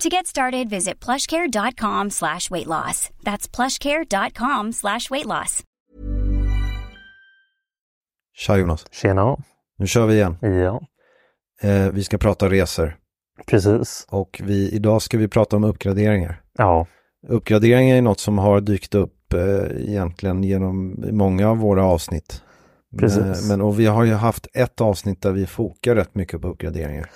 To get started, visit plushcare.com slash weight loss. That's plushcare.com slash weight loss. Tja Jonas, Tjena. nu kör vi igen. Ja, Eh, vi ska prata resor precis. och vi, idag ska vi prata om uppgraderingar. Ja, Uppgraderingar är något som har dykt upp eh, egentligen genom många av våra avsnitt. Eh, Men, Precis. men, och vi har ju haft ett avsnitt där vi fokar rätt mycket på uppgraderingar.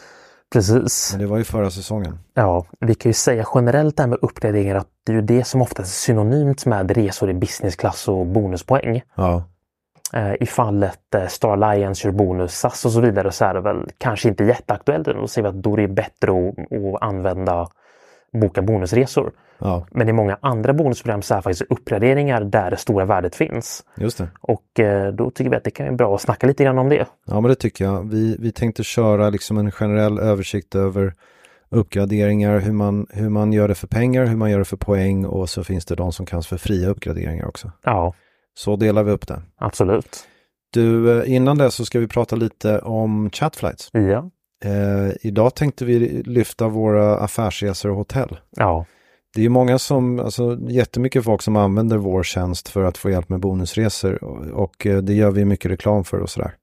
precis. Men det var ju förra säsongen. Ja, vi kan ju säga generellt det här med uppgraderingar att det är ju det som oftast är synonymt med resor i businessklass och bonuspoäng. Ja, Eh, I fallet eh, Star Alliance kör bonus, SAS och så vidare så är det väl kanske inte jätteaktuellt. Då ser vi att då är det bättre att, att använda boka bonusresor. ja Men i många andra bonusprogram så är faktiskt uppgraderingar där det stora värdet finns. just det. Och eh, då tycker vi att det kan vara bra att snacka lite grann om det. Ja, men det tycker jag. Vi, vi tänkte köra liksom en generell översikt över uppgraderingar, hur man, hur man gör det för pengar, hur man gör det för poäng och så finns det de som kallas för fria uppgraderingar också. Ja, Så delar vi upp det. absolut. Du, eh, innan det så ska vi prata lite om chatflights. Ja, Eh, idag tänkte vi lyfta våra affärsresor och hotell. ja, Det är ju många som, alltså jättemycket folk som använder vår tjänst för att få hjälp med bonusresor och, och eh, det gör vi mycket reklam för och sådär.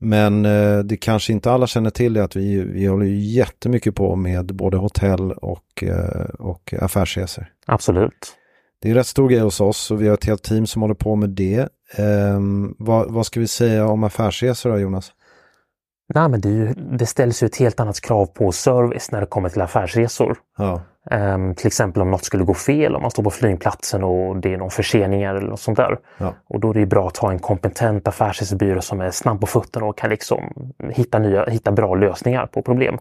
Men eh, det kanske inte alla känner till är att vi, vi håller ju jättemycket på med både hotell och, eh, och affärsresor. absolut. Det är en rätt stor grej hos oss och vi har ett helt team som håller på med det. Ehm, vad, vad ska vi säga om affärsresor då Jonas? Nej, men det, är ju, det ställs ju ett helt annat krav på service när det kommer till affärsresor. Ja, Ehm, till exempel om något skulle gå fel, om man står på flygplatsen och det är någon förseningar eller något sånt där. ja, Och då är det ju bra att ha en kompetent affärsresebyrå som är snabb på fötterna och kan liksom hitta, nya, hitta bra lösningar på problem.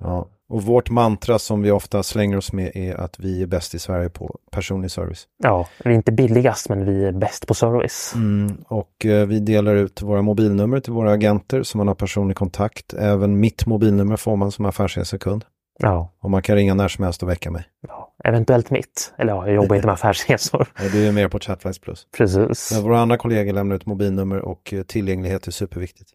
ja. Och vårt mantra som vi ofta slänger oss med är att vi är bäst i Sverige på personlig service. Ja, vi är inte billigast, men vi är bäst på service. Mm, och eh, vi delar ut våra mobilnummer till våra agenter så man har personlig kontakt. Även mitt mobilnummer får man som affärsresekund. Ja, Och man kan ringa när som helst och väcka mig. ja, eventuellt mitt. Eller ja, jag jobbar inte med affärsresor. Eh, Det är mer på Chatflights Plus. Men Precis. våra andra kollegor lämnar ut mobilnummer och eh, tillgänglighet är superviktigt.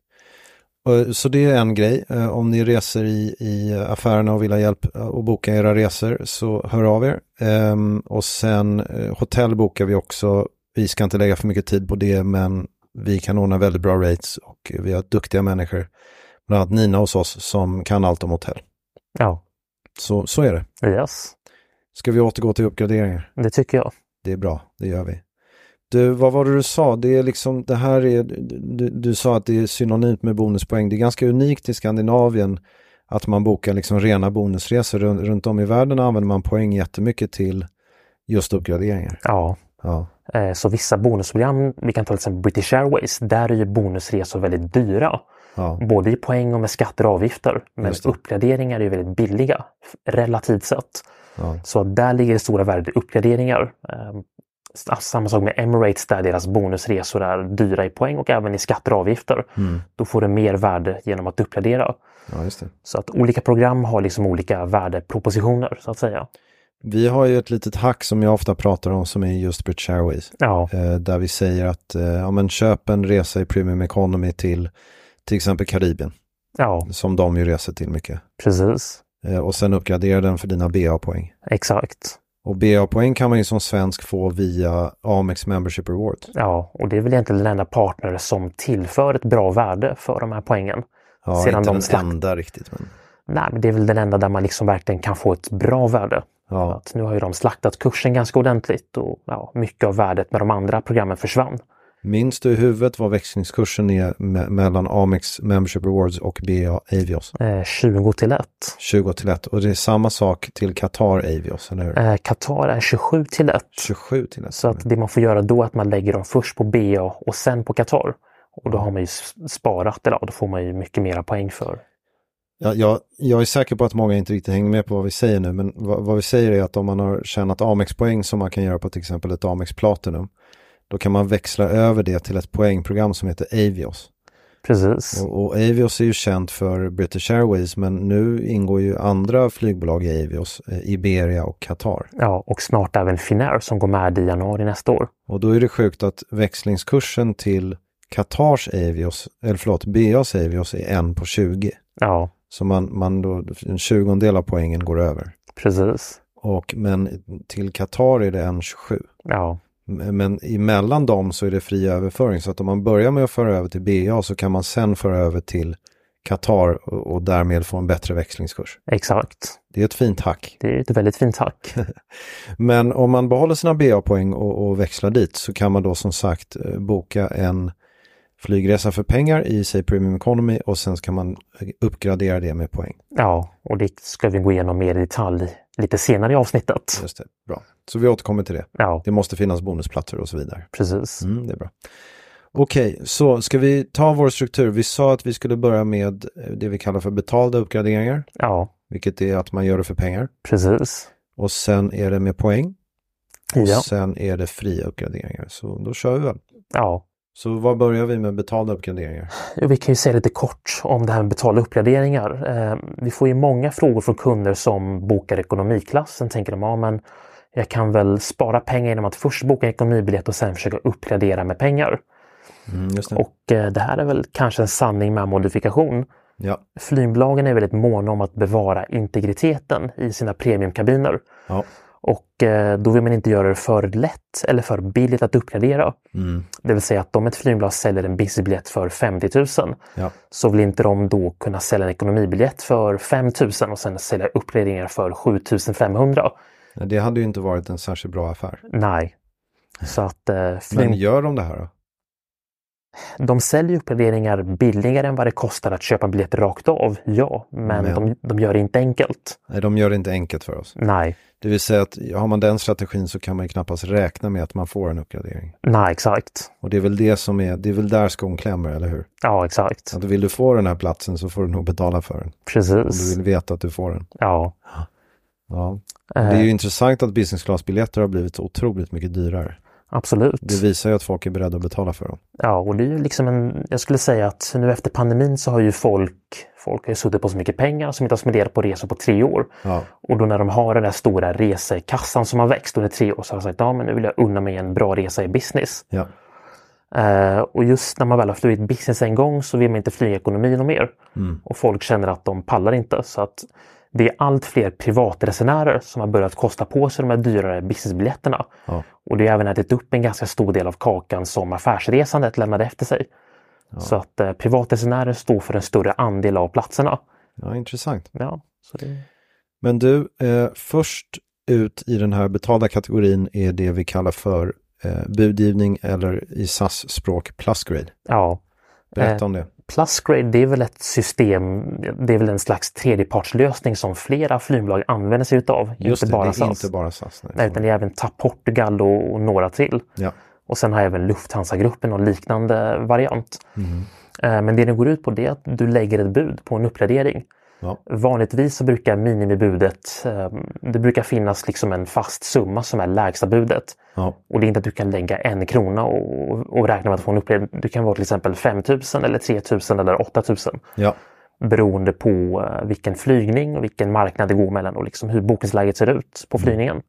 Och, Så det är en grej. Eh, Om ni reser i, i affärerna och vill ha hjälp eh, att boka era resor så hör av er. Ehm, Och sen eh, hotell bokar vi också. Vi ska inte lägga för mycket tid på det men vi kan ordna väldigt bra rates och vi har duktiga människor. Bland annat Nina hos oss som kan allt om hotell. Ja, Så, så är det. yes. Ska vi återgå till uppgraderingar? Det tycker jag. Det är bra, det gör vi. Du, vad var det du sa? Det är liksom, det här är, du, du sa att det är synonymt med bonuspoäng. Det är ganska unikt i Skandinavien att man bokar liksom rena bonusresor. Runt, runt om i världen använder man poäng jättemycket till just uppgraderingar. Ja, Ja, Eh, Så vissa bonusprogram, vi kan ta till exempel British Airways, där är ju bonusresor väldigt dyra. ja, Både i poäng och med skatter och avgifter. Men Just det. uppgraderingar är ju väldigt billiga, f- relativt sett. ja, Så där ligger det stora värdet i uppgraderingar. Eh, s- Samma sak med Emirates där deras bonusresor är dyra i poäng och även i skatter och avgifter. Mm. Då får du mer värde genom att uppgradera. ja, just det. Så att olika program har liksom olika värdepropositioner så att säga. Vi har ju ett litet hack som jag ofta pratar om som är just British Airways. Ja, Eh, där vi säger att eh, ja, men köp en resa i Premium Economy till till exempel Karibien. ja Som de ju reser till mycket. precis. Eh, och sen uppgradera den för dina BA-poäng. Exakt. Och BA-poäng kan man ju som svensk få via Amex Membership Reward. Ja, och det är väl egentligen den enda partner som tillför ett bra värde för de här poängen. Ja, Sedan inte de den slakt- enda riktigt. Men, Nej, men det är väl den enda där man liksom verkligen kan få ett bra värde. ja. Att nu har ju de slaktat kursen ganska ordentligt och ja, mycket av värdet med de andra programmen försvann. Minns du i huvudet vad växlingskursen är me- mellan Amex Membership Rewards och BA Avios? Eh, 20 till 1. 20 till 1 och det är samma sak till Qatar Avios, eller hur? Eh, Qatar är 27 till 1. 27 till 1. Så att det man får göra då är att man lägger dem först på BA och sen på Qatar. Och då har man ju s- sparat, eller ja, då får man ju mycket mera poäng för. Ja, jag, jag är säker på att många inte riktigt hänger med på vad vi säger nu, men vad, vad vi säger är att om man har tjänat Amex-poäng som man kan göra på till exempel ett Amex Platinum, då kan man växla över det till ett poängprogram som heter Avios. Precis. Och, och Avios är ju känt för British Airways, men nu ingår ju andra flygbolag i Avios, eh, Iberia och Qatar. Ja, och snart även Finnair som går med i januari nästa år. Och då är det sjukt att växlingskursen till Qatars Avios, eller förlåt, BAs Avios är en på 20. Ja, Så man, man då, en tjugondel av poängen går över. precis. Och, men till Qatar är det en 27. Ja, M- Men emellan dem så är det fri överföring. Så att om man börjar med att föra över till BA så kan man sen föra över till Qatar och, och därmed få en bättre växlingskurs. exakt. Det är ett fint hack. Det är ett väldigt fint hack. Men om man behåller sina BA-poäng och, och växlar dit så kan man då som sagt eh, boka en flygresa för pengar i säg Premium Economy och sen ska man eh, uppgradera det med poäng. Ja, och det ska vi gå igenom mer i detalj lite senare i avsnittet. Just det, bra. Så vi återkommer till det. Ja, Det måste finnas bonusplatser och så vidare. precis. Mm, det är bra. Okej, så ska vi ta vår struktur. Vi sa att vi skulle börja med eh, det vi kallar för betalda uppgraderingar, Ja, vilket är att man gör det för pengar. precis. Och sen är det med poäng och Ja, sen är det fria uppgraderingar. Så då kör vi väl. ja. Så vad börjar vi med betalda uppgraderingar? Jo, Vi kan ju säga lite kort om det här med betalda uppgraderingar. Eh, Vi får ju många frågor från kunder som bokar ekonomiklass. Sen tänker de, ja men jag kan väl spara pengar genom att först boka en ekonomibiljett och sen försöka uppgradera med pengar. Mm, just det. Och eh, det här är väl kanske en sanning med modifikation. Ja, Flygbolagen är väldigt måna om att bevara integriteten i sina premiumkabiner. ja. Och eh, då vill man inte göra det för lätt eller för billigt att uppgradera. Mm, Det vill säga att om ett flygbolag säljer en busybiljett för 50 000 ja. så vill inte de då kunna sälja en ekonomibiljett för 5 000 och sen sälja uppgraderingar för 7 500. Det hade ju inte varit en särskilt bra affär. Nej. Så att eh, Men flyg, gör de det här då? de säljer uppgraderingar billigare än vad det kostar att köpa en biljett rakt av, ja. Men, Men. De, de gör det inte enkelt. Nej, de gör det inte enkelt för oss. Nej, Det vill säga att har man den strategin så kan man ju knappast räkna med att man får en uppgradering. nej exakt. Och det är väl det som är, det är väl där skon klämmer, eller hur? Ja, exakt. Att vill du få den här platsen så får du nog betala för den. Och du Precis. vill veta att du får den. Ja. Ja. Det Eh, är ju intressant att business class-biljetter har blivit otroligt mycket dyrare. absolut. Det visar ju att folk är beredda att betala för dem. Ja, och det är ju liksom en, jag skulle säga att nu efter pandemin så har ju folk, folk har ju suttit på så mycket pengar som inte har spenderat på resor på tre år. Ja. Och då när de har den där stora resekassan som har växt under tre år så har de sagt ja men nu vill jag unna mig en bra resa i business. Ja, Eh, och just när man väl har flugit business en gång så vill man inte flyga ekonomi något mer. Mm. Och folk känner att de pallar inte. Så att det är allt fler privatresenärer som har börjat kosta på sig de här dyrare businessbiljetterna. Ja. Och det har även ätit upp en ganska stor del av kakan som affärsresandet lämnade efter sig. Så att eh, privatresenärer står för en större andel av platserna. ja intressant. Ja, så det... Men du, eh, först ut i den här betalda kategorin är det vi kallar för eh, budgivning eller i SAS-språk plusgrade. ja. Eh, Berätta om det. Plusgrade det är väl ett system, det är väl en slags tredjepartslösning som flera flygbolag använder sig utav. Just inte det, bara det är SAS. inte bara SAS. Nej. Nej, utan det är även TAP Portugal och, och några till. Ja, Och sen har även Lufthansa-gruppen och liknande variant. Eh, Men det det går ut på det är att du lägger ett bud på en uppgradering. ja, Vanligtvis så brukar minimibudet, eh, det brukar finnas liksom en fast summa som är lägsta budet. ja, Och det är inte att du kan lägga en krona och, och räkna med att få en uppgradering. Du kan vara till exempel 5 000 eller 3 000 eller 8 000. ja, beroende på eh, vilken flygning och vilken marknad det går mellan och liksom hur bokningsläget ser ut på flygningen.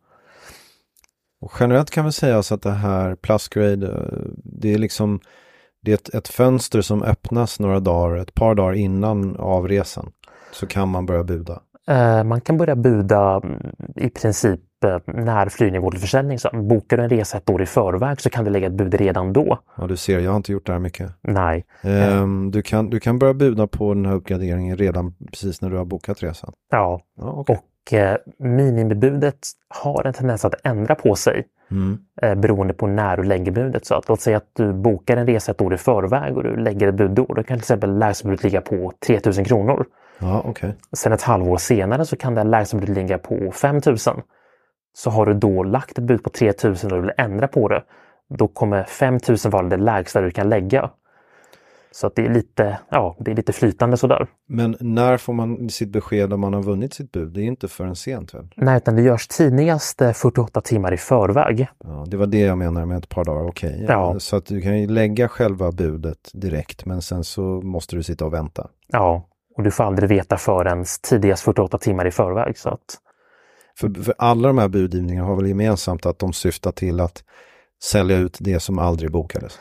Och generellt kan vi säga så att det här Plusgrade, eh, det är liksom det är ett, ett fönster som öppnas några dagar, ett par dagar innan avresan. Så kan man börja buda. Eh, Man kan börja buda mm, i princip eh, när flygningen går till försäljning. Så bokar du en resa ett år i förväg så kan du lägga ett bud redan då. Ja, du ser, jag har inte gjort det här mycket. Nej, Ehm, du, kan, du kan börja buda på den här uppgraderingen redan precis när du har bokat resan. ja. Ja, okej. Och eh, minimibudet har en tendens att ändra på sig Mm. eh, beroende på när du lägger budet. Så att, låt säga att du bokar en resa ett år i förväg och du lägger ett bud då. Då kan till exempel lägstbudet ligga på 3000 kronor. Ja, okej. Sen ett halvår senare så kan det lägstbudet ligga på 5000. Så har du då lagt ett bud på 3000 och du vill ändra på det, då kommer 5000 vara det lägsta du kan lägga. Så att det är lite, ja, det är lite flytande sådär. Men när får man sitt besked om man har vunnit sitt bud? Det är inte förrän sent väl? Nej, utan det görs tidigast eh, 48 timmar i förväg. Ja, det var det jag menade med ett par dagar, okej. Ja. Så att du kan ju lägga själva budet direkt, men sen så måste du sitta och vänta. Ja, och du får aldrig veta förrän tidigast 48 timmar i förväg. Så att, För, för alla de här budgivningarna har väl gemensamt att de syftar till att sälja ut det som aldrig bokades.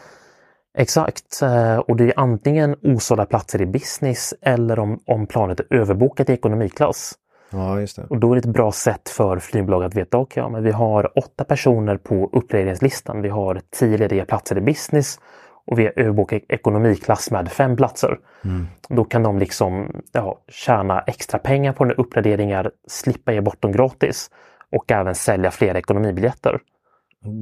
exakt, eh, och det är antingen osålda platser i business eller om, om planet är överbokat i ekonomiklass. Ja, just det. Och då är det ett bra sätt för flygbolag att veta, okej, ja, men vi har åtta personer på uppgraderingslistan. Vi har tio lediga platser i business och vi har överbokat ekonomiklass med fem platser. Då kan de liksom ja, tjäna extra pengar på den uppgraderingar, slippa ge bort dem gratis och även sälja fler ekonomibiljetter.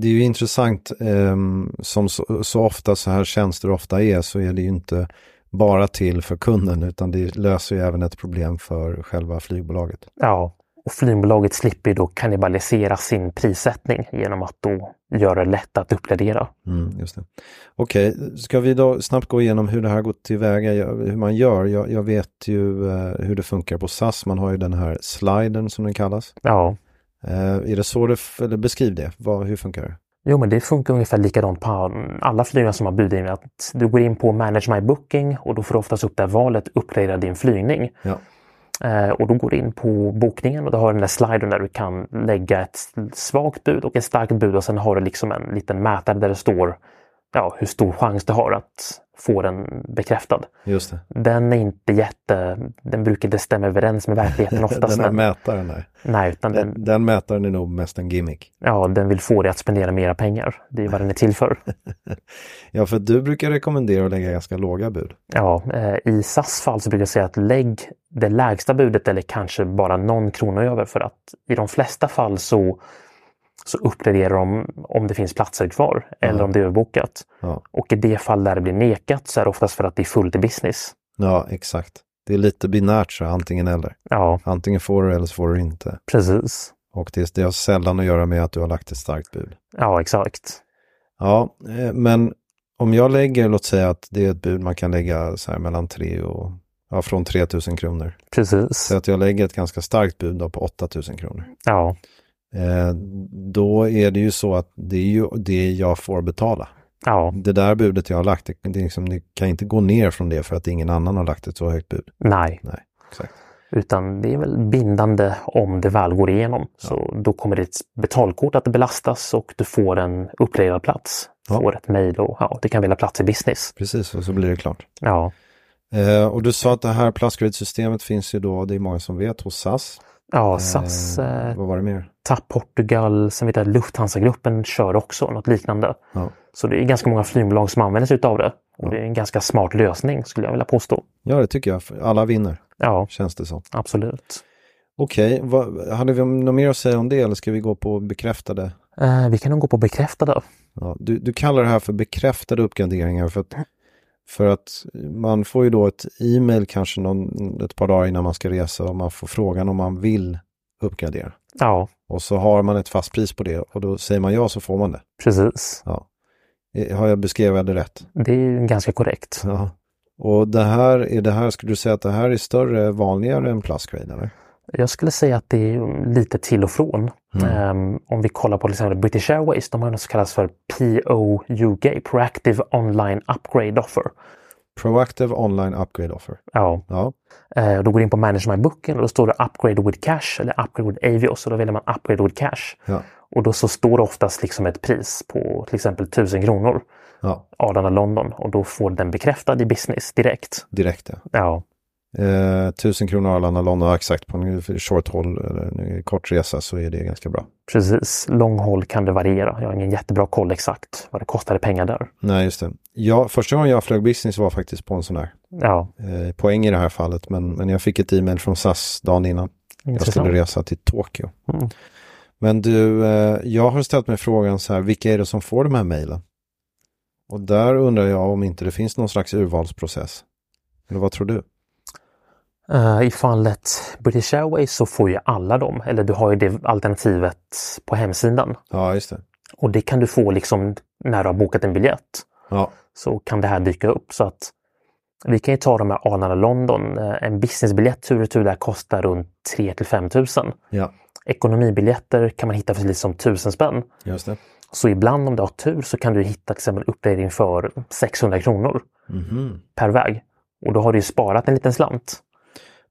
Det är ju intressant, ehm, som så, så ofta så här tjänster ofta är, så är det ju inte bara till för kunden, utan det löser ju även ett problem för själva flygbolaget. Ja, och flygbolaget slipper ju då kannibalisera sin prissättning genom att då göra det lätt att uppgradera. Mm, just det. Okej, ska vi då snabbt gå igenom hur det här går tillväga, ja, hur man gör? Jag, jag vet ju eh, hur det funkar på SAS, man har ju den här sliden som den kallas. Ja, Eh, är det så det, f- eller beskriv det, Vad, hur funkar det? jo men det funkar ungefär likadant på alla flygningar som har budgivning. Att du går in på Manage My Booking och då får du oftast upp där valet Uppgradera din flygning. Ja. Eh, och då går du in på bokningen och då har du den där sliden där du kan lägga ett svagt bud och ett starkt bud och sen har du liksom en liten mätare där det står ja, hur stor chans du har att få den bekräftad. Just det, den är inte jätte, den brukar inte stämma överens med verkligheten oftast. den här men, mätaren där. nej, utan den, Den, den mätaren är nog mest en gimmick. ja, den vill få dig att spendera mera pengar. Det är vad den är till för. Ja, för du brukar rekommendera att lägga ganska låga bud. Ja, eh, I SAS fall så brukar jag säga att lägg det lägsta budet eller kanske bara någon krona över för att i de flesta fall så, så uppgraderar de om det finns platser kvar eller om det är överbokat. Ja. Och i det fall där det blir nekat så är det oftast för att det är fullt i business. Ja, exakt. Det är lite binärt så, antingen eller. Ja, Antingen får du eller så får du inte. precis. Och det, det har sällan att göra med att du har lagt ett starkt bud. Ja, exakt. Ja, eh, men om jag lägger, låt säga att det är ett bud man kan lägga så här mellan 3 och, ja från 3 000 kronor. Precis. Så att jag lägger ett ganska starkt bud då på 8 000 kronor. Ja, Eh, då är det ju så att det är ju det jag får betala. ja, Det där budet jag har lagt, det, det, är liksom, det kan inte gå ner från det för att ingen annan har lagt ett så högt bud. nej. Nej, exakt. Utan det är väl bindande om det väl går igenom. Så då kommer ditt betalkort att belastas och du får en uppgraderad plats. Ja. Får ett mejl och ja, du kan välja plats i business. Precis, och så blir det klart. Ja, Eh, och du sa att det här plastgrid-systemet finns ju då, det är många som vet, hos SAS. ja SAS, eh, Vad var det mer? TAP Portugal, sen vet jag att Lufthansa-gruppen kör också något liknande. Ja. Så det är ganska många flygbolag som använder sig av det. Och det är en ganska smart lösning skulle jag vilja påstå. ja, det tycker jag. För Alla vinner, Ja, känns det som. absolut. Okej, vad- hade vi något mer att säga om det eller ska vi gå på bekräftade? Eh, vi kan nog gå på bekräftade. Ja, du, du kallar det här för bekräftade uppgraderingar för att, för att man får ju då ett e-mail kanske någon, ett par dagar innan man ska resa och man får frågan om man vill uppgradera. Ja, Och så har man ett fast pris på det och då säger man ja så får man det. precis. Ja. Eh, Har jag beskrivit det rätt? Det är ju ganska korrekt. Ja. Och det här, är det här, skulle du säga att det här är större, vanligare än plastgrade? Eller? Jag skulle säga att det är lite till och från. Mm. Ehm, om vi kollar på till exempel British Airways, de har något som kallas för POUG, Proactive Online Upgrade Offer. Proactive Online Upgrade Offer. Ja. Ja, Eh, Då går du in på Manage My Booking och då står det Upgrade with Cash eller Upgrade with Avios och då väljer man Upgrade with Cash. ja, Och då så står det oftast liksom ett pris på till exempel 1000 kronor, ja Arlanda, London och då får den bekräftad i business direkt. direkt ja. Ja, Eh, 1000 kronor Arlanda, London, ja, exakt på en short haul eller en kort resa så är det ganska bra. precis. Lång håll kan det variera. Jag har ingen jättebra koll exakt vad det kostar i pengar där. Nej, just det. Ja, första gången jag flög business var faktiskt på en sån här Ja, eh, poäng i det här fallet, men, men jag fick ett e-mail från SAS dagen innan. Jag intressant. skulle resa till Tokyo. Mm. Men du, eh, jag har ställt mig frågan så här, vilka är det som får de här mejlen? Och där undrar jag om inte det finns någon slags urvalsprocess. Eller vad tror du? Eh, I fallet British Airways så får ju alla dem, eller du har ju det alternativet på hemsidan. Ja, just det. Och det kan du få liksom när du har bokat en biljett. Ja, så kan det här dyka upp. Så att vi kan ju ta de här Arlanda London. Eh, En businessbiljett tur och retur där kostar runt 3 till 5 000. ja Ekonomibiljetter kan man hitta för liksom 1000 spänn. just det. Så ibland om du har tur så kan du hitta till exempel uppdatering för 600 kronor Mhm. per väg. Och då har du ju sparat en liten slant.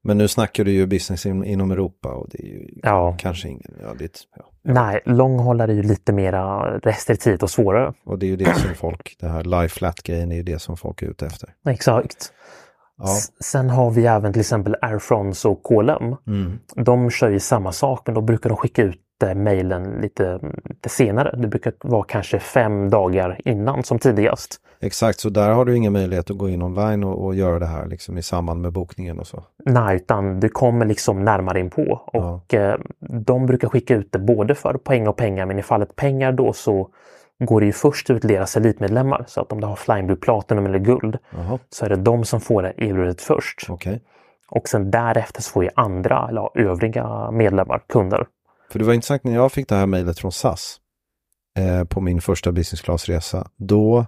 Men nu snackar du ju business in, inom Europa och det är ju Ja. kanske ingen... Ja, det, är ett- ja. Nej, långhållare är ju lite mera restriktivt och svårare. Och det är ju det som folk, det här live flat-grejen är ju det som folk är ute efter. Exakt. Ja, S- Sen har vi även till exempel Air France och KLM. mm. De kör ju samma sak men då brukar de skicka ut eh, mejlen lite, mm, lite senare. Det brukar vara kanske fem dagar innan som tidigast. exakt. Så där har du ingen möjlighet att gå in online och, och göra det här liksom i samband med bokningen och så. Nej, utan du kommer liksom närmare in på. Och eh, de brukar skicka ut det både för poäng och pengar men i fallet pengar då så går det ju först ut deras elitmedlemmar. Så att om du har Flying Blue Platinum eller guld Jaha, så är det de som får det erbjudet först. okej. Och sen därefter så får ju andra, eller ja, övriga medlemmar, kunder. För det var intressant när jag fick det här mejlet från SAS eh, på min första business class-resa. Då,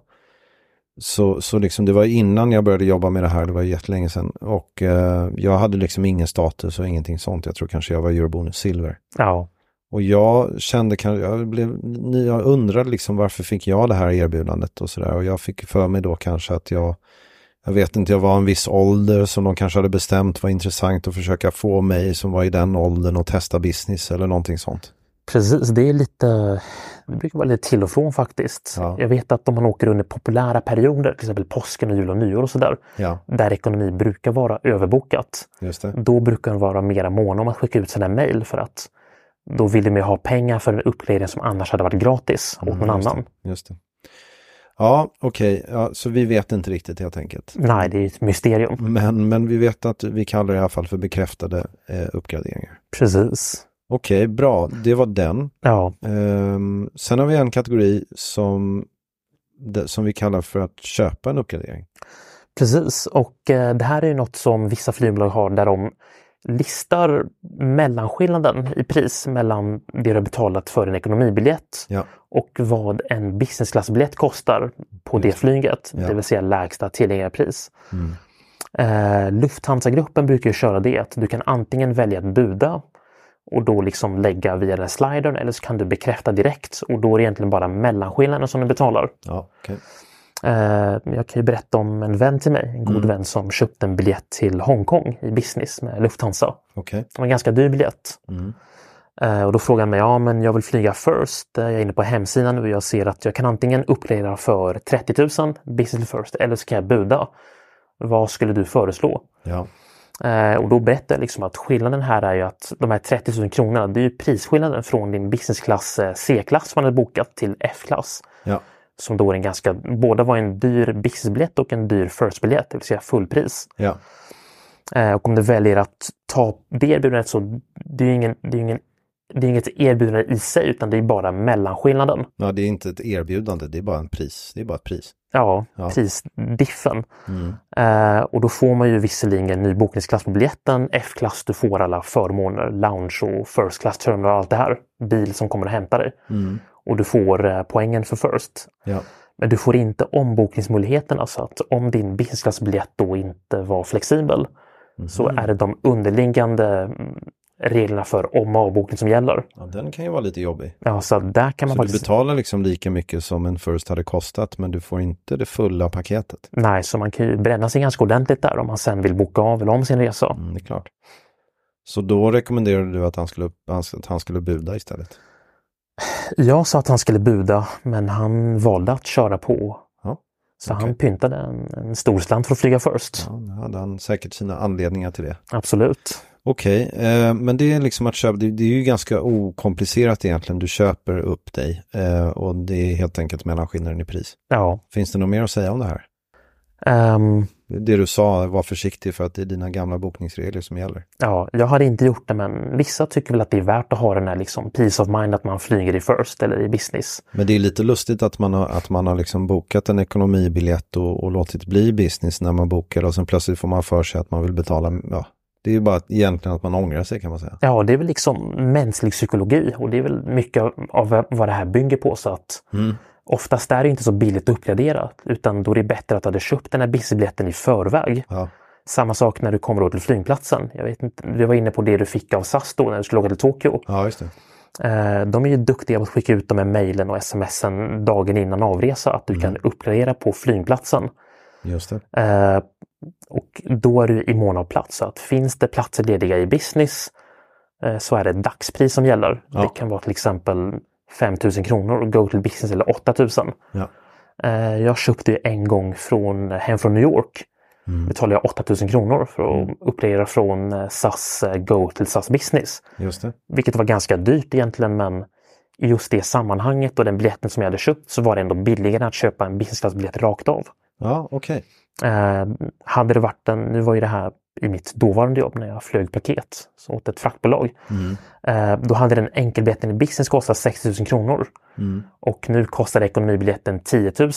så, så liksom det var innan jag började jobba med det här, det var jättelänge sedan. Och eh, jag hade liksom ingen status och ingenting sånt. Jag tror kanske jag var eurobonus silver. Ja, Och jag kände kanske, jag, blev, ny- jag undrade liksom varför fick jag det här erbjudandet och sådär. Och jag fick för mig då kanske att jag, jag vet inte, jag var en viss ålder som de kanske hade bestämt var intressant att försöka få mig som var i den åldern att testa business eller någonting sånt. Precis, det är lite... Det brukar vara lite till och från faktiskt. Ja. Jag vet att om man åker under populära perioder, till exempel påsken och jul och nyår och sådär, Ja, där ekonomi brukar vara överbokat, just det. då brukar de vara mera måna om att skicka ut sina mejl för att då vill de ju ha pengar för en uppgradering som annars hade varit gratis åt någon just annan. Det, just det. Ja, okej, ja, så vi vet inte riktigt helt enkelt. Nej, det är ett mysterium. Men, men vi vet att vi kallar det i alla fall för bekräftade eh, uppgraderingar. Precis. Okej, bra, det var den. Ja, Ehm, sen har vi en kategori som, det- som vi kallar för att köpa en uppgradering. precis. Och eh, det här är ju något som vissa flygbolag har där de listar mellanskillnaden i pris mellan det du har betalat för en ekonomibiljett Ja, och vad en business class-biljett kostar på det flyget, Ja. Mm. det vill säga lägsta tillgängliga pris. Eh, Lufthansa-gruppen brukar ju köra det att du kan antingen välja att buda och då liksom lägga via den här slidern eller så kan du bekräfta direkt och då är det egentligen bara mellanskillnaden som du betalar. ja okej. Eh, jag kan ju berätta om en vän till mig, en god vän som köpte en biljett till Hongkong i business med Lufthansa. Okej. Det var en ganska dyr biljett. Eh, Och då frågade han mig, ja men jag vill flyga first. Eh, Jag är inne på hemsidan nu och jag ser att jag kan antingen uppgradera för 30 000 business first eller så kan jag buda. Vad skulle du föreslå? Ja, Eh, Och då berättade jag liksom att skillnaden här är ju att de här 30 000 kronorna, det är ju prisskillnaden från din businessklass eh, C-klass man hade bokat till F-klass. ja, Som då är en ganska, båda var en dyr businessbiljett och en dyr firstbiljett, det vill säga fullpris. ja, Eh, Och om du väljer att ta det erbjudandet så det är ju ingen, det är ju ingen, det är inget erbjudande i sig utan det är bara mellanskillnaden. ja. Det är inte ett erbjudande, det är bara en pris. Det är bara ett pris. Ja, Ja. prisdiffen. Eh, och då får man ju visserligen en ny bokningsklass på biljetten, F-klass, du får alla förmåner, lounge och first class terminal och allt det här. Bil som kommer och hämtar dig. Och du får eh, poängen för first. Ja, Men du får inte ombokningsmöjligheterna så att om din business Mhm. class-biljett då inte var flexibel så är det de underliggande mm, reglerna för om och avbokning som gäller. Ja, den kan ju vara lite jobbig. Ja, så där kan man Så du faktiskt... betalar liksom lika mycket som en First hade kostat men du får inte det fulla paketet. Nej, så man kan ju bränna sig ganska ordentligt där om man sen vill boka av eller om sin resa. Mm, det är klart. Så då rekommenderade du att han skulle, att han skulle buda istället? Jag sa att han skulle buda, men han valde att köra på. Ja, Så okej. han pyntade en, en stor slant för att flyga först. Ja, då hade han säkert sina anledningar till det. Absolut. Okej, eh, men det är liksom att köpa, det, det är ju ganska okomplicerat egentligen. Du köper upp dig eh, och det är helt enkelt mellanskillnaden i pris. Ja. Finns det något mer att säga om det här? Ehm, Det du sa, var försiktig för att det är dina gamla bokningsregler som gäller. ja, jag hade inte gjort det, men vissa tycker väl att det är värt att ha den här liksom peace of mind att man flyger i first eller i business. Men det är lite lustigt att man har, att man har liksom bokat en ekonomibiljett och, och låtit bli business när man bokar och sen plötsligt får man för sig att man vill betala. Ja, det är ju bara att- egentligen att man ångrar sig kan man säga. Ja, det är väl liksom mänsklig psykologi och det är väl mycket av- av vad det här bygger på. Så att oftast är det inte så billigt att uppgradera, utan då är det bättre att du hade köpt den här businessbiljetten i förväg. Ja, Samma sak när du kommer då till flygplatsen. Jag vet inte, vi var inne på det du fick av SAS då när du skulle åka till Tokyo. ja just det. Eh, de är ju duktiga på att skicka ut de här mejlen och smsen dagen innan avresa att du kan uppgradera på flygplatsen. Just det. Eh, och då är du i mån av plats. Så att finns det platser lediga i business eh, så är det dagspris som gäller. Ja. Det kan vara till exempel 5000 kronor och go to business eller 8000. Ja. Eh, jag köpte ju en gång från, hem från New York. betalade jag 8000 kronor för att uppgradera från eh, SAS eh, Go till SAS Business. Just det. Vilket var ganska dyrt egentligen men i just det sammanhanget och den biljetten som jag hade köpt så var det ändå billigare att köpa en business class-biljett rakt av. Ja, okej. Eh, hade det varit en, nu var ju det här i mitt dåvarande jobb när jag flög paket så åt ett fraktbolag. Mm. Eh, då hade den enkelbiljetten i business kostat 6 000 kronor. Mm. Och nu kostade ekonomibiljetten 10 000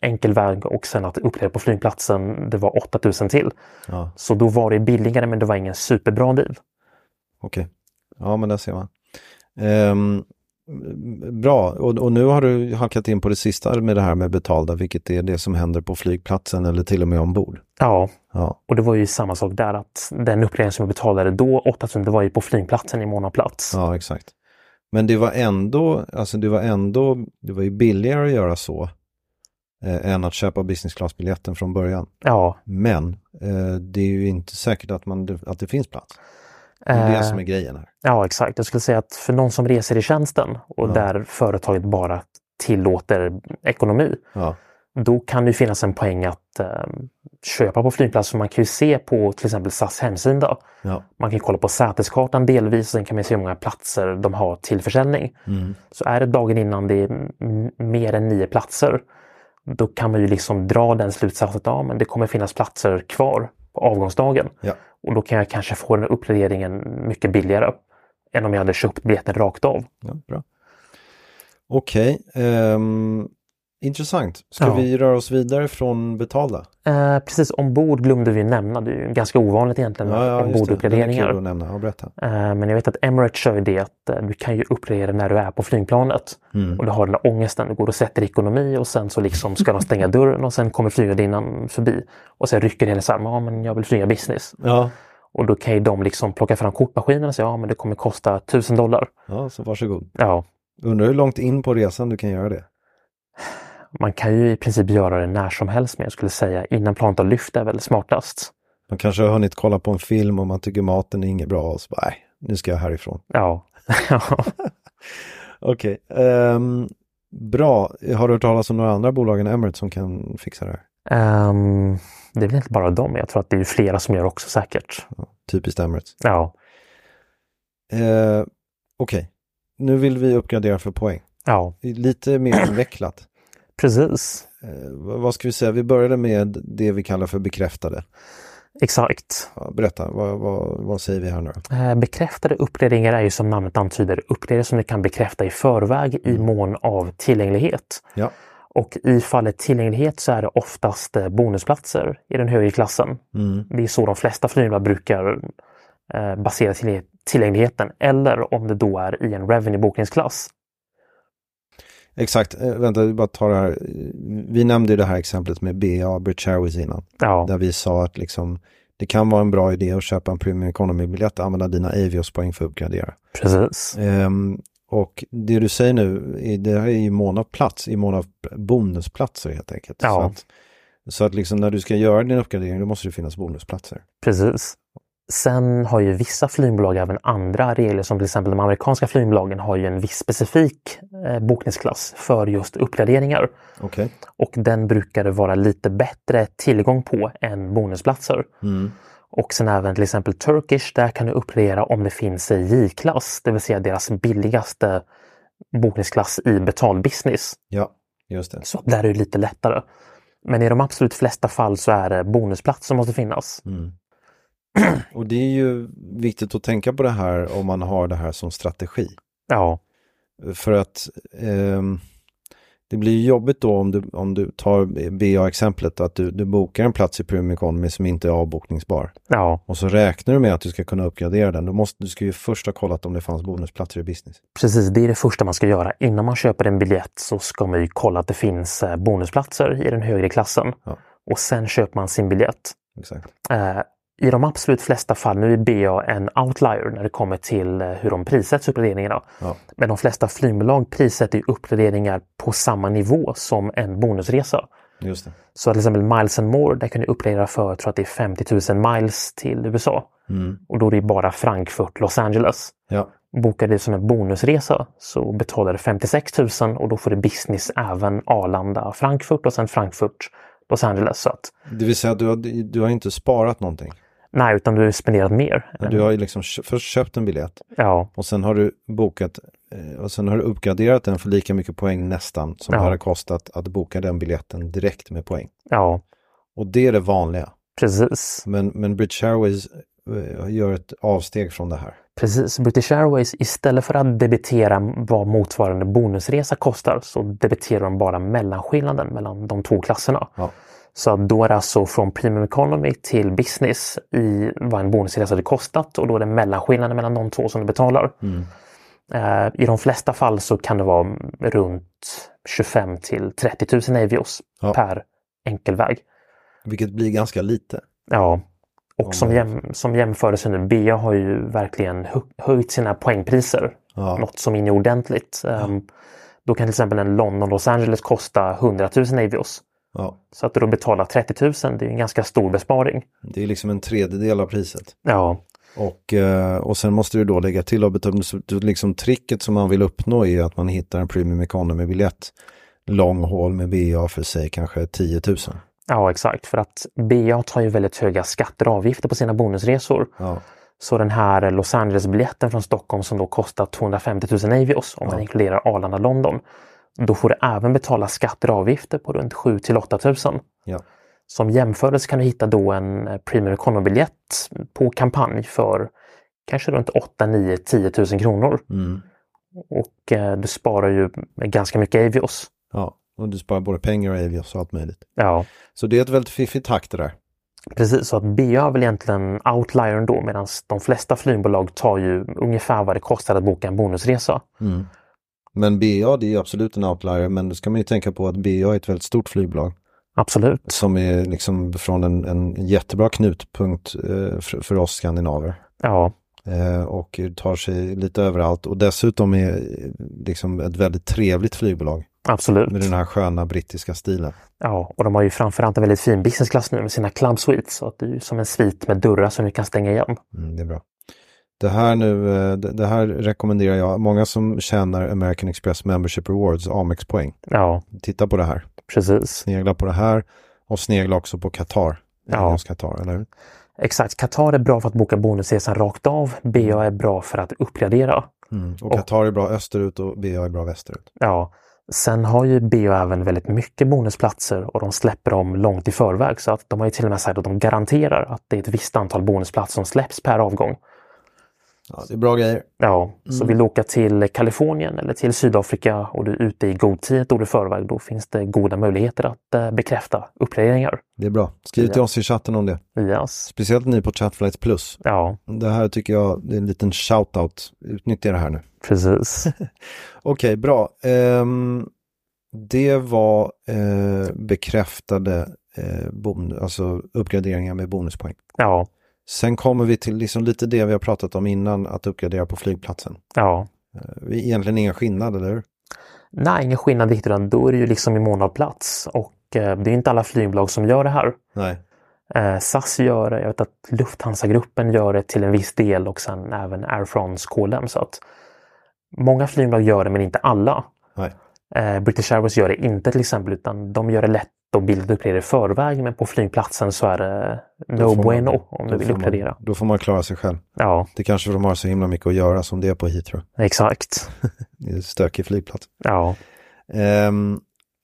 enkel väg och sen att uppleva på flygplatsen det var 8 000 till. Ja, Så då var det billigare men det var ingen superbra deal. okej. Ja, men där ser man. Ehm, bra, och, och nu har du halkat in på det sista med det här med betalda, vilket är det som händer på flygplatsen eller till och med ombord. Ja, Ja, och det var ju samma sak där att den upplevelsen som jag betalade då 8 000 det var ju på flygplatsen i månadsplats. ja exakt. Men det var ändå, alltså det var ändå, det var ju billigare att göra så eh, än att köpa business class-biljetten från början. Ja, Men eh, det är ju inte säkert att, man, att det finns plats. Det eh, är det som är grejen här. Ja, exakt. Jag skulle säga att för någon som reser i tjänsten och där företaget bara tillåter ekonomi, Ja, då kan det ju finnas en poäng att eh, köpa på flygplats. För Man kan ju se på till exempel SAS hemsida. ja. Man kan ju kolla på säteskartan delvis och sen kan man se hur många platser de har till försäljning. Så är det dagen innan det är m- mer än nio platser, då kan man ju liksom dra den slutsatsen att ja, men det kommer finnas platser kvar på avgångsdagen. ja. Och då kan jag kanske få den här uppgraderingen mycket billigare än om jag hade köpt biljetten rakt av. Ja, bra. Okej, ehm, intressant. Ska Ja. vi röra oss vidare från betalda? Eh, precis, ombord glömde vi nämna. Det är ju ganska ovanligt egentligen med just det. Den är omborduppgraderingar. kul att nämna. Ja, berätta. Eh, men jag vet att Emirates kör ju det att eh, du kan ju uppgradera när du är på flygplanet. Och du har den här ångesten. Du går och sätter i ekonomi och sen så liksom ska de stänga dörren och sen kommer flygvärdinnan förbi. Och sen rycker hennes arm. Ja, men jag vill flyga business. Ja. Och då kan ju de liksom plocka fram kortmaskinen och säga ja, men det kommer kosta 1000 dollar. ja, så varsågod. Ja, Undrar hur långt in på resan du kan göra det. Man kan ju i princip göra det när som helst, men jag skulle säga innan planet har lyft är väl smartast. Man kanske har hunnit kolla på en film och man tycker maten är inget bra och så bara, nej, nu ska jag härifrån. Ja. Ja. Okej, ehm, bra. Har du hört talas om några andra bolag än Emirates som kan fixa det här? Ehm, det är väl inte bara dem, jag tror att det är flera som gör också säkert. Typiskt Emirates. Ja, Eh, Okej, nu vill vi uppgradera för poäng. ja Lite mer invecklat. precis. Eh, vad vad ska vi säga? Vi började med det vi kallar för bekräftade. Exakt. Ja, berätta, vad, vad, vad säger vi här nu? Eh, Bekräftade uppgraderingar är ju som namnet antyder uppgraderingar som du kan bekräfta i förväg i mån av tillgänglighet. Ja, Och i fallet tillgänglighet så är det oftast eh, bonusplatser i den högre klassen. Mm. Det är så de flesta flygbolag brukar eh, basera till, tillgängligheten. Eller om det då är i en revenue-bokningsklass. exakt. Eh, vänta, vi bara tar det här. Vi nämnde ju det här exemplet med BA, British Airways innan. Ja, Där vi sa att liksom det kan vara en bra idé att köpa en Premium Economy-biljett och använda dina Avios-poäng för att uppgradera. Precis. Ehm, och det du säger nu, i- det här är ju i mån av plats, i mån av bonusplatser helt enkelt. Ja. Så att, så att liksom när du ska göra din uppgradering, då måste det finnas bonusplatser. Precis. Sen har ju vissa flygbolag även andra regler som till exempel de amerikanska flygbolagen har ju en viss specifik eh, bokningsklass för just uppgraderingar. Okej. Och den brukar det vara lite bättre tillgång på än bonusplatser. Mm. Och sen även till exempel Turkish, där kan du uppgradera om det finns i J-klass, det vill säga deras billigaste bokningsklass i betalbusiness. Ja, just det. Så där är det lite lättare. Men i de absolut flesta fall så är det bonusplats som måste finnas. Mm. Och det är ju viktigt att tänka på det här om man har det här som strategi. Ja, För att ehm, det blir ju jobbigt då om du, om du tar BA-exemplet att du, du bokar en plats i Premium Economy som inte är avbokningsbar. ja, Och så räknar du med att du ska kunna uppgradera den. Då måste, du ska ju först ha kollat om det fanns bonusplatser i business. precis. Det är det första man ska göra. Innan man köper en biljett så ska man ju kolla att det finns eh, bonusplatser i den högre klassen. Ja. Och sen köper man sin biljett. Exakt. Eh, I de absolut flesta fall, nu är BA en outlier när det kommer till eh, hur de prissätts uppgraderingarna. Ja. Men de flesta flygbolag prissätter ju uppgraderingar på samma nivå som en bonusresa. Just det. Så till exempel Miles and More, där kan du uppgradera för jag tror att det är 50 000 miles till USA. Mm. Och då är det bara Frankfurt, Los Angeles. Ja, Bokar du som en bonusresa så betalar du 56 000 och då får du business även Arlanda, Frankfurt och sen Frankfurt, Los Angeles. Så att, det vill säga att du har, du har inte sparat någonting. nej, utan du har ju spenderat mer. Du har ju liksom kö- först köpt en biljett Ja, och sen har du bokat eh, och sen har du uppgraderat den för lika mycket poäng nästan som Ja. det hade kostat att boka den biljetten direkt med poäng. ja, Och det är det vanliga. precis. Men, men British Airways eh, gör ett avsteg från det här. Precis, British Airways istället för att debitera vad motsvarande bonusresa kostar så debiterar de bara mellanskillnaden mellan de två klasserna. Ja. Så att då är det alltså från Premium Economy till Business i vad en bonusresa hade kostat och då är det mellanskillnaden mellan de två som du betalar. Mm. Eh, I de flesta fall så kan det vara runt 25 till 30 000 avios Ja. per enkelväg. Vilket blir ganska lite. Ja. Om Och som, man- jäm, som jämförelse nu, BA har ju verkligen hö- höjt sina poängpriser. Ja. Något som är inne ordentligt. Ehm, då kan till exempel en London-Los Angeles kosta 100 000 avios. Ja, Så att du då betalar 30 000, det är ju en ganska stor besparing. det är liksom en tredjedel av priset. Ja, Och, eh, och sen måste du då lägga till och betala. så du- Liksom, tricket som man vill uppnå är att man hittar en Premium Economy-biljett long haul med BA för sig kanske 10 000. ja exakt. För att BA tar ju väldigt höga skatter och avgifter på sina bonusresor. Ja, Så den här Los Angeles-biljetten från Stockholm som då kostar 250 000 avios om man inkluderar Arlanda-London. Då får du även betala skatter och avgifter på runt 7 till 8 000. ja. Som jämförelse kan du hitta då en eh, Premium Economy-biljett på kampanj för kanske runt 8, 9, 10 000 kronor. Mm. Och eh, du sparar ju ganska mycket avios. ja. Och du sparar både pengar och avios och allt möjligt. Ja, Så det är ett väldigt fiffigt hack det där. precis. Så att BA är väl egentligen outliern då medan de flesta flygbolag tar ju ungefär vad det kostar att boka en bonusresa. Men BA det är ju absolut en outlier, men då ska man ju tänka på att BA är ett väldigt stort flygbolag. Absolut. som är liksom från en, en jättebra knutpunkt eh, för, för oss skandinaver. Ja, Eh, och tar sig lite överallt och dessutom är eh, liksom ett väldigt trevligt flygbolag absolut. med den här sköna brittiska stilen. Ja, och de har ju framförallt en väldigt fin businessklass nu med sina club suites. Så att det är ju som en svit med dörrar som du kan stänga igen. Mm, det är bra. Det här nu, eh, det, det här rekommenderar jag. Många som tjänar American Express Membership Rewards, Amex-poäng, Ja, titta på det här. precis. Snegla på det här och snegla också på Qatar. Ja. Ja. Qatar, eller hur? Exakt, Qatar är bra för att boka bonusresan rakt av. BA är bra för att uppgradera. Mm. Och Qatar är bra österut och BA är bra västerut. Ja, sen har ju BA även väldigt mycket bonusplatser och de släpper dem långt i förväg. Så att de har ju till och med sagt att de garanterar att det är ett visst antal bonusplatser som släpps per avgång. Ja, det är bra grejer. Ja, så vill du åka till Kalifornien eller till Sydafrika och du är ute i god tid ett år i förväg, då finns det goda möjligheter att eh, bekräfta uppgraderingar. Det är bra. Skriv till oss i chatten om det. Yes. Speciellt ni på Chatflights Plus. Ja, Det här tycker jag det är en liten shout-out. Utnyttja det här nu. precis. Okej, bra. Ehm, det var eh, bekräftade eh, bon, alltså uppgraderingar med bonuspoäng. Ja, Sen kommer vi till liksom lite det vi har pratat om innan, att uppgradera på flygplatsen. ja. Eh, Egentligen ingen skillnad, eller hur? Nej, ingen skillnad riktigt. utan Då är det ju liksom i mån av plats och eh, det är inte alla flygbolag som gör det här. Nej. Eh, SAS gör det, jag vet att Lufthansa-gruppen gör det till en viss del och sen även Air France KLM. Så att många flygbolag gör det men inte alla. Nej. Eh, British Airways gör det inte till exempel utan de gör det lätt och billigt att uppgradera i förväg men på flygplatsen så är det Då no får man- bueno om du då vill får man- uppgradera. Då får man klara sig själv. Ja, Det kanske för de har så himla mycket att göra som det är på Heathrow. exakt. Det är en stökig flygplats. Ja, Ehm,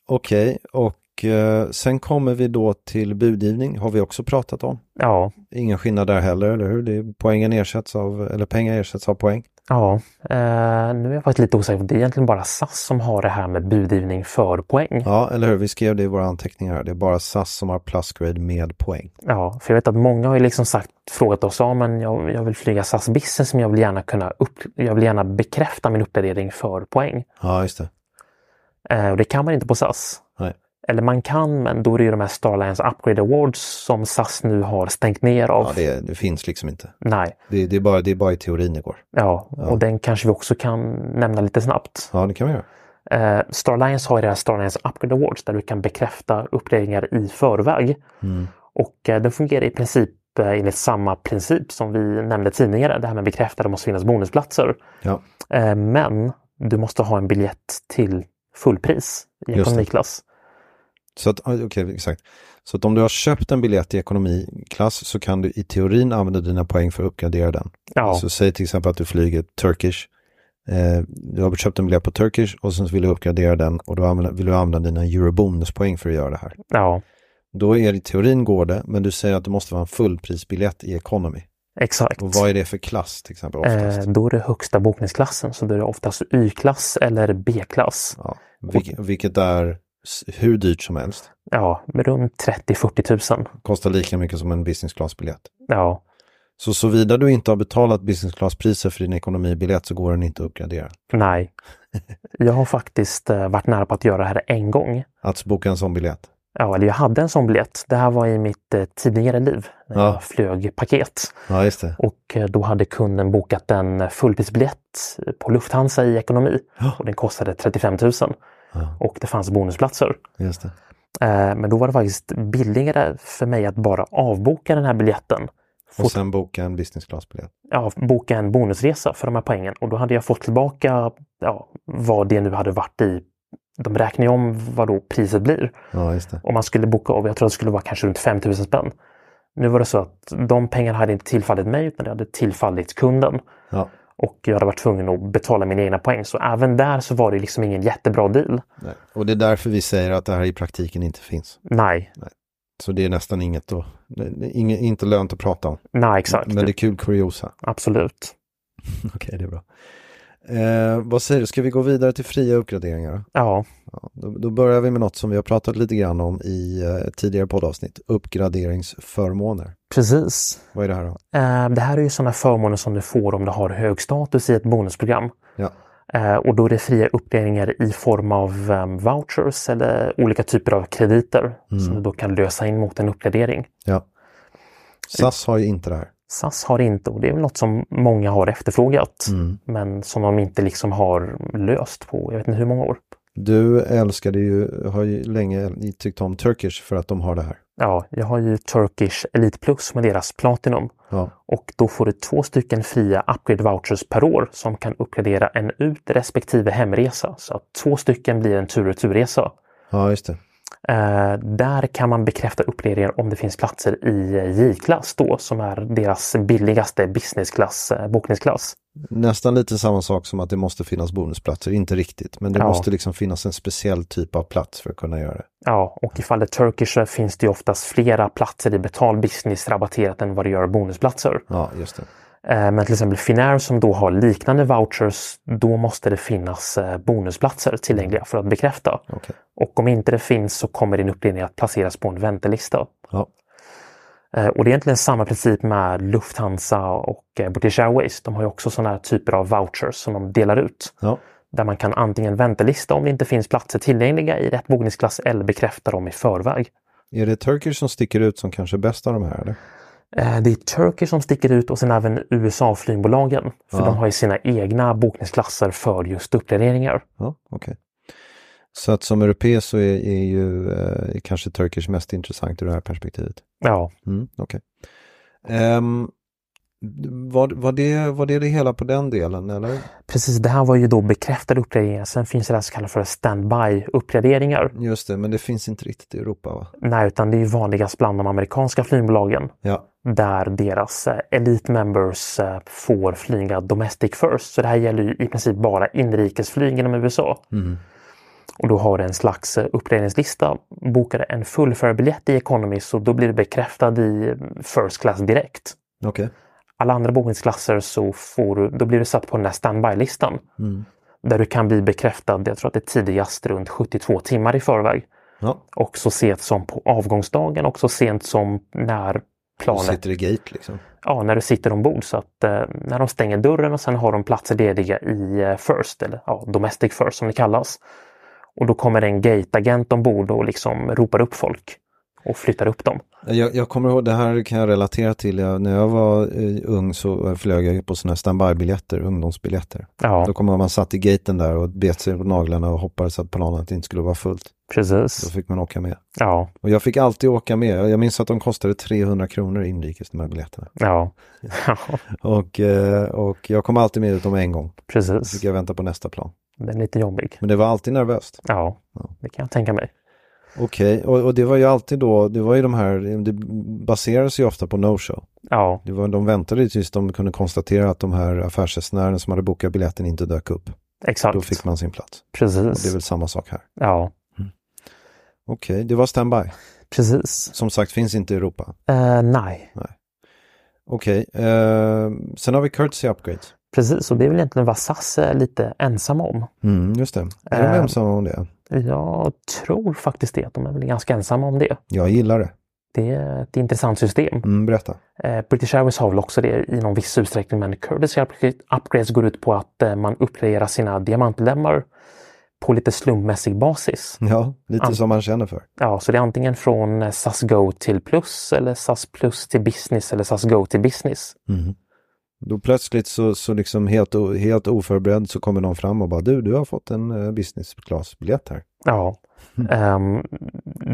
Okej, och eh, sen kommer vi då till budgivning, har vi också pratat om. ja, Ingen skillnad där heller, eller hur? Det är, poängen ersätts av, eller pengar ersätts av poäng. ja. Eh, nu är jag faktiskt lite osäker. Det är egentligen bara SAS som har det här med budgivning för poäng. Ja, eller hur? Vi skrev det i våra anteckningar. här. Det är bara SAS som har plusgrade med poäng. Ja, för jag vet att många har ju liksom sagt, frågat oss, ja men jag, jag vill flyga SAS Business men jag vill gärna kunna upp, jag vill gärna bekräfta min uppgradering för poäng. Ja, just det. Eh, och det kan man inte på SAS. Nej. Eller man kan, men då är det ju de här Star Alliance Upgrade Awards som SAS nu har stängt ner av. Ja, det, det finns liksom inte. Nej, Det, det, är bara, det är bara i teorin det går. ja. Ja. och den kanske vi också kan nämna lite snabbt. Ja, det kan vi göra. Eh, Star Alliance har ju det här Star Alliance Upgrade Awards där du kan bekräfta uppgraderingar i förväg. Mm. Och eh, den fungerar i princip eh, enligt samma princip som vi nämnde tidigare. Det här med bekräftade måste finnas bonusplatser. Ja. Eh, Men du måste ha en biljett till fullpris i Just det. ekonomiklass. Så att, ja, okej, exakt. Så att om du har köpt en biljett i ekonomiklass så kan du i teorin använda dina poäng för att uppgradera den. Ja, Så säg till exempel att du flyger Turkish. Eh, du har köpt en biljett på Turkish och sen så vill du uppgradera den och då använder- vill du använda dina eurobonuspoäng för att göra det här. ja, Då är det i teorin går det, men du säger att det måste vara en fullprisbiljett i economy. exakt. Och vad är det för klass till exempel Eh, oftast? Då är det högsta bokningsklassen, så då är det oftast Y-klass eller B-klass. ja, vil- vilket är s- hur dyrt som helst. Ja, med runt 30-40 000. Kostar lika mycket som en business class-biljett. Ja, Så såvida du inte har betalat business class-priser för din ekonomibiljett så går den inte att uppgradera. nej. Jag har faktiskt eh, varit nära på att göra det här en gång. Att boka en sån biljett. Ja, eller jag hade en sån biljett. Det här var i mitt eh, tidigare liv när Ja. jag flög paket. Ja, just det. Och eh, då hade kunden bokat en fullprisbiljett på Lufthansa i ekonomi. Ja. Och den kostade 35 000. Ja. Och det fanns bonusplatser. Just det. Eh, Men då var det faktiskt billigare för mig att bara avboka den här biljetten. Få, Och sen boka en business class-biljett. ja, boka en bonusresa för de här poängen. Och då hade jag fått tillbaka ja, vad det nu hade varit i. De räknar ju om vad då priset blir. Ja, just det. om man skulle boka av. Jag tror att det skulle vara kanske runt 5000 spänn. Nu var det så att de pengarna hade inte tillfallit mig utan det hade tillfallit kunden. Ja. Och jag hade varit tvungen att betala mina egna poäng. Så även där så var det liksom ingen jättebra deal. Nej. Och det är därför vi säger att det här i praktiken inte finns. Nej, Så det är nästan inget att, det är inget, inte lönt att prata om. nej exakt. Men det är kul kuriosa. Absolut. Okej, det är bra. Eh, vad säger du, ska vi gå vidare till fria uppgraderingar? då? Ja, Ja, då, då börjar vi med något som vi har pratat lite grann om i eh, tidigare poddavsnitt, uppgraderingsförmåner. precis. Vad är det här då? Eh, Det här är ju sådana förmåner som du får om du har hög status i ett bonusprogram. Ja, Eh, Och då är det fria uppgraderingar i form av eh, vouchers eller olika typer av krediter som du då kan lösa in mot en uppgradering. ja. SAS har ju inte det här. SAS har inte och det är väl något som många har efterfrågat. Men som de inte liksom har löst på jag vet inte hur många år. Du älskade ju, har ju länge tyckt om Turkish för att de har det här. Ja, jag har ju Turkish Elite Plus med deras Platinum. Ja, Och då får du två stycken fria upgrade vouchers per år som kan uppgradera en ut respektive hemresa. Så att två stycken blir en tur och turresa. ja just det. Eh, där kan man bekräfta uppgraderingar om det finns platser i eh, J-klass då som är deras billigaste businessklass, eh, bokningsklass. Nästan lite samma sak som att det måste finnas bonusplatser, inte riktigt, men det Ja. måste liksom finnas en speciell typ av plats för att kunna göra det. Ja, och i fallet Turkish så finns det ju oftast flera platser i betald business rabatterat än vad det gör bonusplatser. Ja, just det. Eh, Men till exempel Finnair som då har liknande vouchers, då måste det finnas eh, bonusplatser tillgängliga för att bekräfta. Okej. Och om inte det finns så kommer din uppdelning att placeras på en väntelista. Ja. Eh, Och det är egentligen samma princip med Lufthansa och eh, British Airways. De har ju också sådana här typer av vouchers som de delar ut. Ja. Där man kan antingen väntelista om det inte finns platser tillgängliga i rätt bokningsklass eller bekräfta dem i förväg. Är det Turkish som sticker ut som kanske bäst av de här? Eller? Eh, Det är Turkish som sticker ut och sen även USA-flygbolagen. För Ja. de har ju sina egna bokningsklasser för just uppgraderingar. Ja, okej. Så att som europé så är, är ju eh, kanske Turkish mest intressant ur det här perspektivet. Ja, Mm, okej. Ehm, var, var, det, var det det hela på den delen eller? precis. Det här var ju då bekräftade uppgraderingar. Sen finns det här så kallade för standby-uppgraderingar. Just det, men det finns inte riktigt i Europa va? Nej, utan det är ju vanligast bland de amerikanska flygbolagen. Ja, där deras eh, Elite Members eh, får flyga Domestic First. Så det här gäller ju i princip bara inrikesflyg inom USA. Och då har du en slags eh, uppredningslista. Bokar du en fullförbiljett i Economy så då blir du bekräftad i eh, First Class direkt. okej. Alla andra bokningsklasser så får du, då blir du satt på den här standby-listan. Där du kan bli bekräftad, jag tror att det är tidigast runt 72 timmar i förväg. Ja, Och så sent som på avgångsdagen och så sent som när du planet sitter i gate liksom. ja, när du sitter ombord så att eh, när de stänger dörren och sen har de platser lediga i eh, First eller ja, Domestic First som det kallas. Och då kommer en gateagent ombord och liksom ropar upp folk och flyttar upp dem. Jag, jag kommer ihåg, det här kan jag relatera till. Jag, när jag var eh, ung så eh, flög jag på sådana här standby-biljetter, ungdomsbiljetter. Ja, Då kommer man man satt i gaten där och bet sig på naglarna och hoppades att planet inte skulle vara fullt. Då precis. fick man åka med. Ja, Och jag fick alltid åka med. Jag- Jag minns att de kostade 300 kronor inrikes, de här biljetterna. ja, Och, eh, och jag kom alltid med utom en gång. Då precis. fick jag vänta på nästa plan. Den är lite jobbig. Men det var alltid nervöst. Ja, det kan jag tänka mig. Okej, och, och det var ju alltid då, det var ju de här, det baserades ju ofta på no-show. Ja, Det var, de väntade ju tills de kunde konstatera att de här affärsresenärerna som hade bokat biljetten inte dök upp. Då exakt. fick man sin plats. Och det är Precis. väl samma sak här. Ja, Okej, det var standby. precis. Som sagt, finns inte i Europa. Eh, nej, Okej, eh, sen har vi courtesy upgrades. precis. Och det är väl egentligen vad SAS är lite ensam om. Mm, just det. Är de Eh. ensamma om det? Jag tror faktiskt det. att De är väl ganska ensamma om det. Jag gillar det. Det är ett intressant system. Mm, berätta. Eh, British Airways har väl också det i någon viss utsträckning men courtesy upgrade- upgrades går ut på att eh, man uppgraderar sina diamantlemmar på lite slumpmässig basis. Ja, lite Ja. som man känner för. Ja, så det är antingen från eh, SAS Go till Plus eller SAS Plus till Business eller SAS Go till Business. Mm-hmm. Då plötsligt så, så liksom helt, o- helt oförberedd så kommer någon fram och bara du, du har fått en eh, business class-biljett här. Ja. Ehm,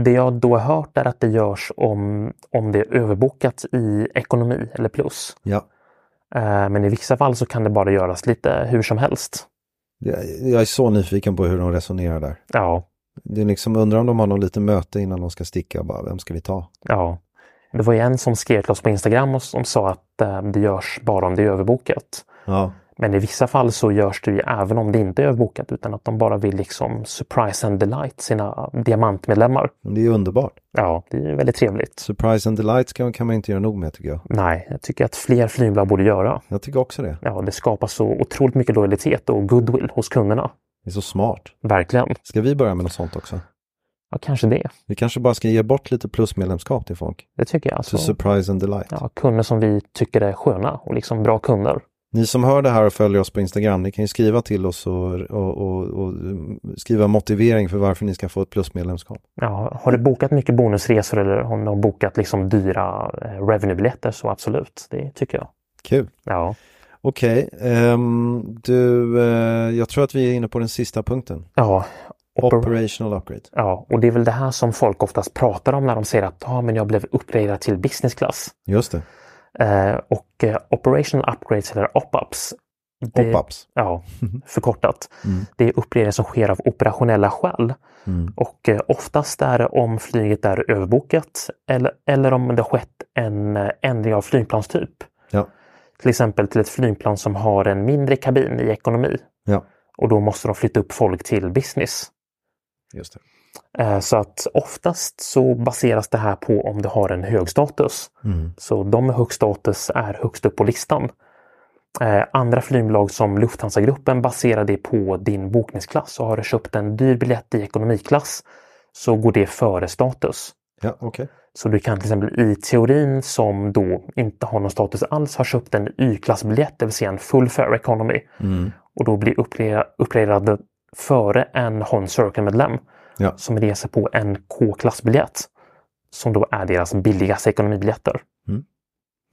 det jag då har hört är att det görs om, om det är överbokat i ekonomi eller plus. Ja. Eh, men i vissa fall så kan det bara göras lite hur som helst. Jag, jag är så nyfiken på hur de resonerar där. Ja, Det är liksom, undrar om de har något litet möte innan de ska sticka, bara vem ska vi ta? Ja. Det var ju en som skrev till oss på Instagram och som sa att eh, det görs bara om det är överbokat. Ja, Men i vissa fall så görs det ju även om det inte är överbokat utan att de bara vill liksom surprise and delight sina diamantmedlemmar. men det är ju underbart. Ja, det är ju väldigt trevligt. Surprise and delight kan, kan man inte göra nog med tycker jag. Nej, jag tycker att fler flygbolag borde göra. Jag tycker också det. Ja, det skapar så otroligt mycket lojalitet och goodwill hos kunderna. Det är så smart. Verkligen. Ska vi börja med något sånt också? Ja, kanske det. Vi kanske bara ska ge bort lite plusmedlemskap till folk. Det tycker jag. To Alltså, surprise and delight. ja, kunder som vi tycker är sköna och liksom bra kunder. Ni som hör det här och följer oss på Instagram, ni kan ju skriva till oss och, och, och, och mm, skriva motivering för varför ni ska få ett plusmedlemskap. Ja, har du bokat mycket bonusresor eller har du bokat liksom dyra eh, revenue-biljetter så absolut, det tycker jag. Kul! Ja, Okej, ehm, du, eh, jag tror att vi är inne på den sista punkten. ja, Oper- Operational upgrade. ja och det är väl det här som folk oftast pratar om när de säger att ah, men jag blev uppgraderad till business class. Just det, Eh, och eh, operational upgrades eller op-ups. det- pop-ups. Ja, förkortat. Det är uppgraderingar som sker av operationella skäl. Och eh, oftast är det om flyget är överbokat eller, eller om det har skett en eh, ändring av flygplanstyp. Ja, till exempel till ett flygplan som har en mindre kabin i ekonomi ja, och då måste de flytta upp folk till business. just det. Eh, Så att oftast så baseras det här på om du har en hög status. Så de med hög status är högst upp på listan. Eh, Andra flygbolag som Lufthansa-gruppen baserar det på din bokningsklass. Och har du köpt en dyr biljett i ekonomiklass så går det före status. Ja, okej. Så du kan till exempel i teorin som då inte har någon status alls har köpt en Y-klassbiljett, det vill säga en full fair economy. Mm. Och då blir uppgra- uppgraderad före en Hon Circle-medlem Ja. som reser på en K-klassbiljett. som då är deras billigaste ekonomibiljetter.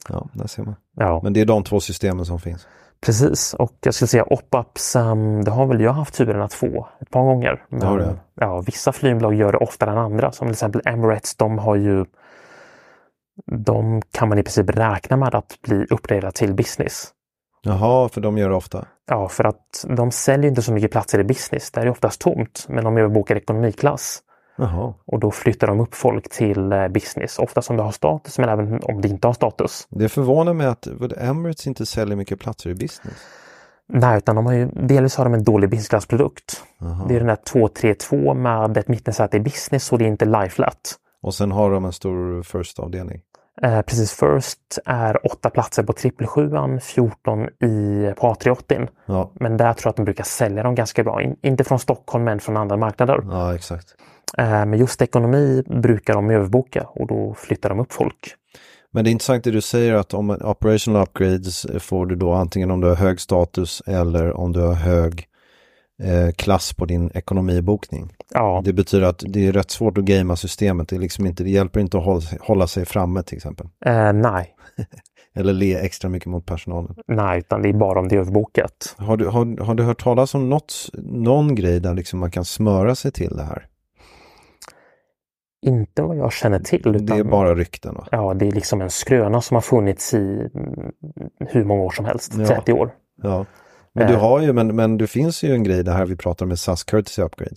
Ja, där ser man. Ja, Men det är de två systemen som finns. precis. Och jag skulle säga Opapps, um, det har väl jag haft turen att få ett par gånger. Men, har du? ja, vissa flygbolag gör det oftare än andra. Som till exempel Emirates, de har ju de kan man i princip räkna med att bli uppgraderad till business. Jaha, för de gör det ofta. Ja, för att de säljer inte så mycket platser i business. Där är det oftast tomt. Men om jag bokar ekonomiklass Jaha, och då flyttar de upp folk till eh, business. Oftast om det har status, men även om det inte har status. det förvånar mig att vad, Emirates inte säljer mycket platser i business. Nej, utan de har ju, delvis har de en dålig businessklassprodukt. Det är den här 232 med ett mittensäte i business och det är inte lie-flat. Och sen har de en stor first-avdelning. Eh, precis first är åtta platser på 777, 14 i, på A380. Ja, Men där tror jag att de brukar sälja dem ganska bra. In, inte från Stockholm men från andra marknader. ja exakt. Eh, men just ekonomi brukar de överboka och då flyttar de upp folk. Men det är intressant det du säger att om en operational upgrades får du då antingen om du har hög status eller om du har hög eh, klass på din ekonomibokning. Ja, Det betyder att det är rätt svårt att gamea systemet. Det, är liksom inte, det hjälper inte att hålla, hålla sig framme till exempel. eh, nej. Eller le extra mycket mot personalen. Nej, utan det är bara om det är överbokat. Har du, har, har du hört talas om något, någon grej där liksom man kan smöra sig till det här? Inte vad jag känner till. Utan... Det är bara rykten va? Ja, det är liksom en skröna som har funnits i mm, hur många år som helst, Ja. 30 år. Ja. Men du Eh. har ju, men, men det finns ju en grej, det här vi pratar med SAS Courtesy Upgrade.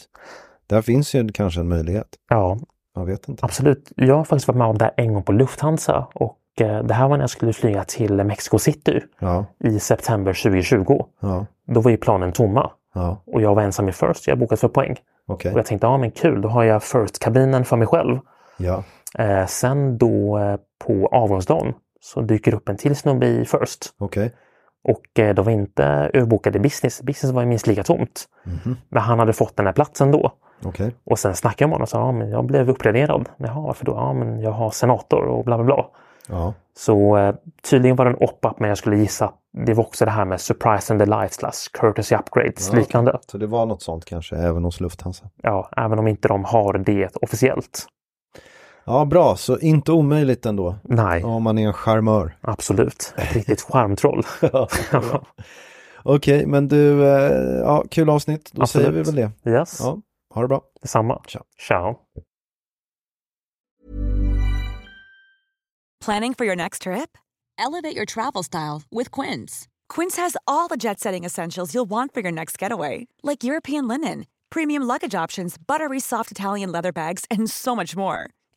Där finns ju kanske en möjlighet. Ja, Jag vet inte. absolut. Jag har faktiskt varit med om det här en gång på Lufthansa och eh, det här var när jag skulle flyga till Mexico City Ja, i september 2020. ja, Då var ju planen tomma ja, och jag var ensam i first. Jag bokat för poäng okej. och jag tänkte, ja men kul, då har jag first-kabinen för mig själv. Ja, Eh, sen då eh, på avgångsdagen så dyker upp en till snubbe i first okej. Och eh, de var inte överbokade i business. Business var ju minst lika tomt. Mhm. Men han hade fått den här platsen då. Okej. Och sen snackade jag med honom och sa ja, men jag blev uppgraderad. Jaha, varför då? Ja, men jag har senator och bla bla bla. Ja, Så eh, tydligen var det en op-up, men jag skulle gissa att det var också det här med surprise and delight slash courtesy upgrades, Ja, okej. liknande. så det var något sånt kanske även hos Lufthansa. Ja, även om inte de har det officiellt. Ja, bra, så inte omöjligt ändå. Nej, Om man är en charmör. absolut. Ett riktigt charmtroll. Okej, men du, eh, ja, kul avsnitt. Då Absolut. säger vi väl det. yes, Ja, ha det bra. detsamma. Ciao. Ciao. Planning for your next trip? Elevate your travel style with Quince. Quince has all the jet setting essentials you'll want for your next getaway, like European linen, premium luggage options, buttery soft Italian leather bags, and so much more.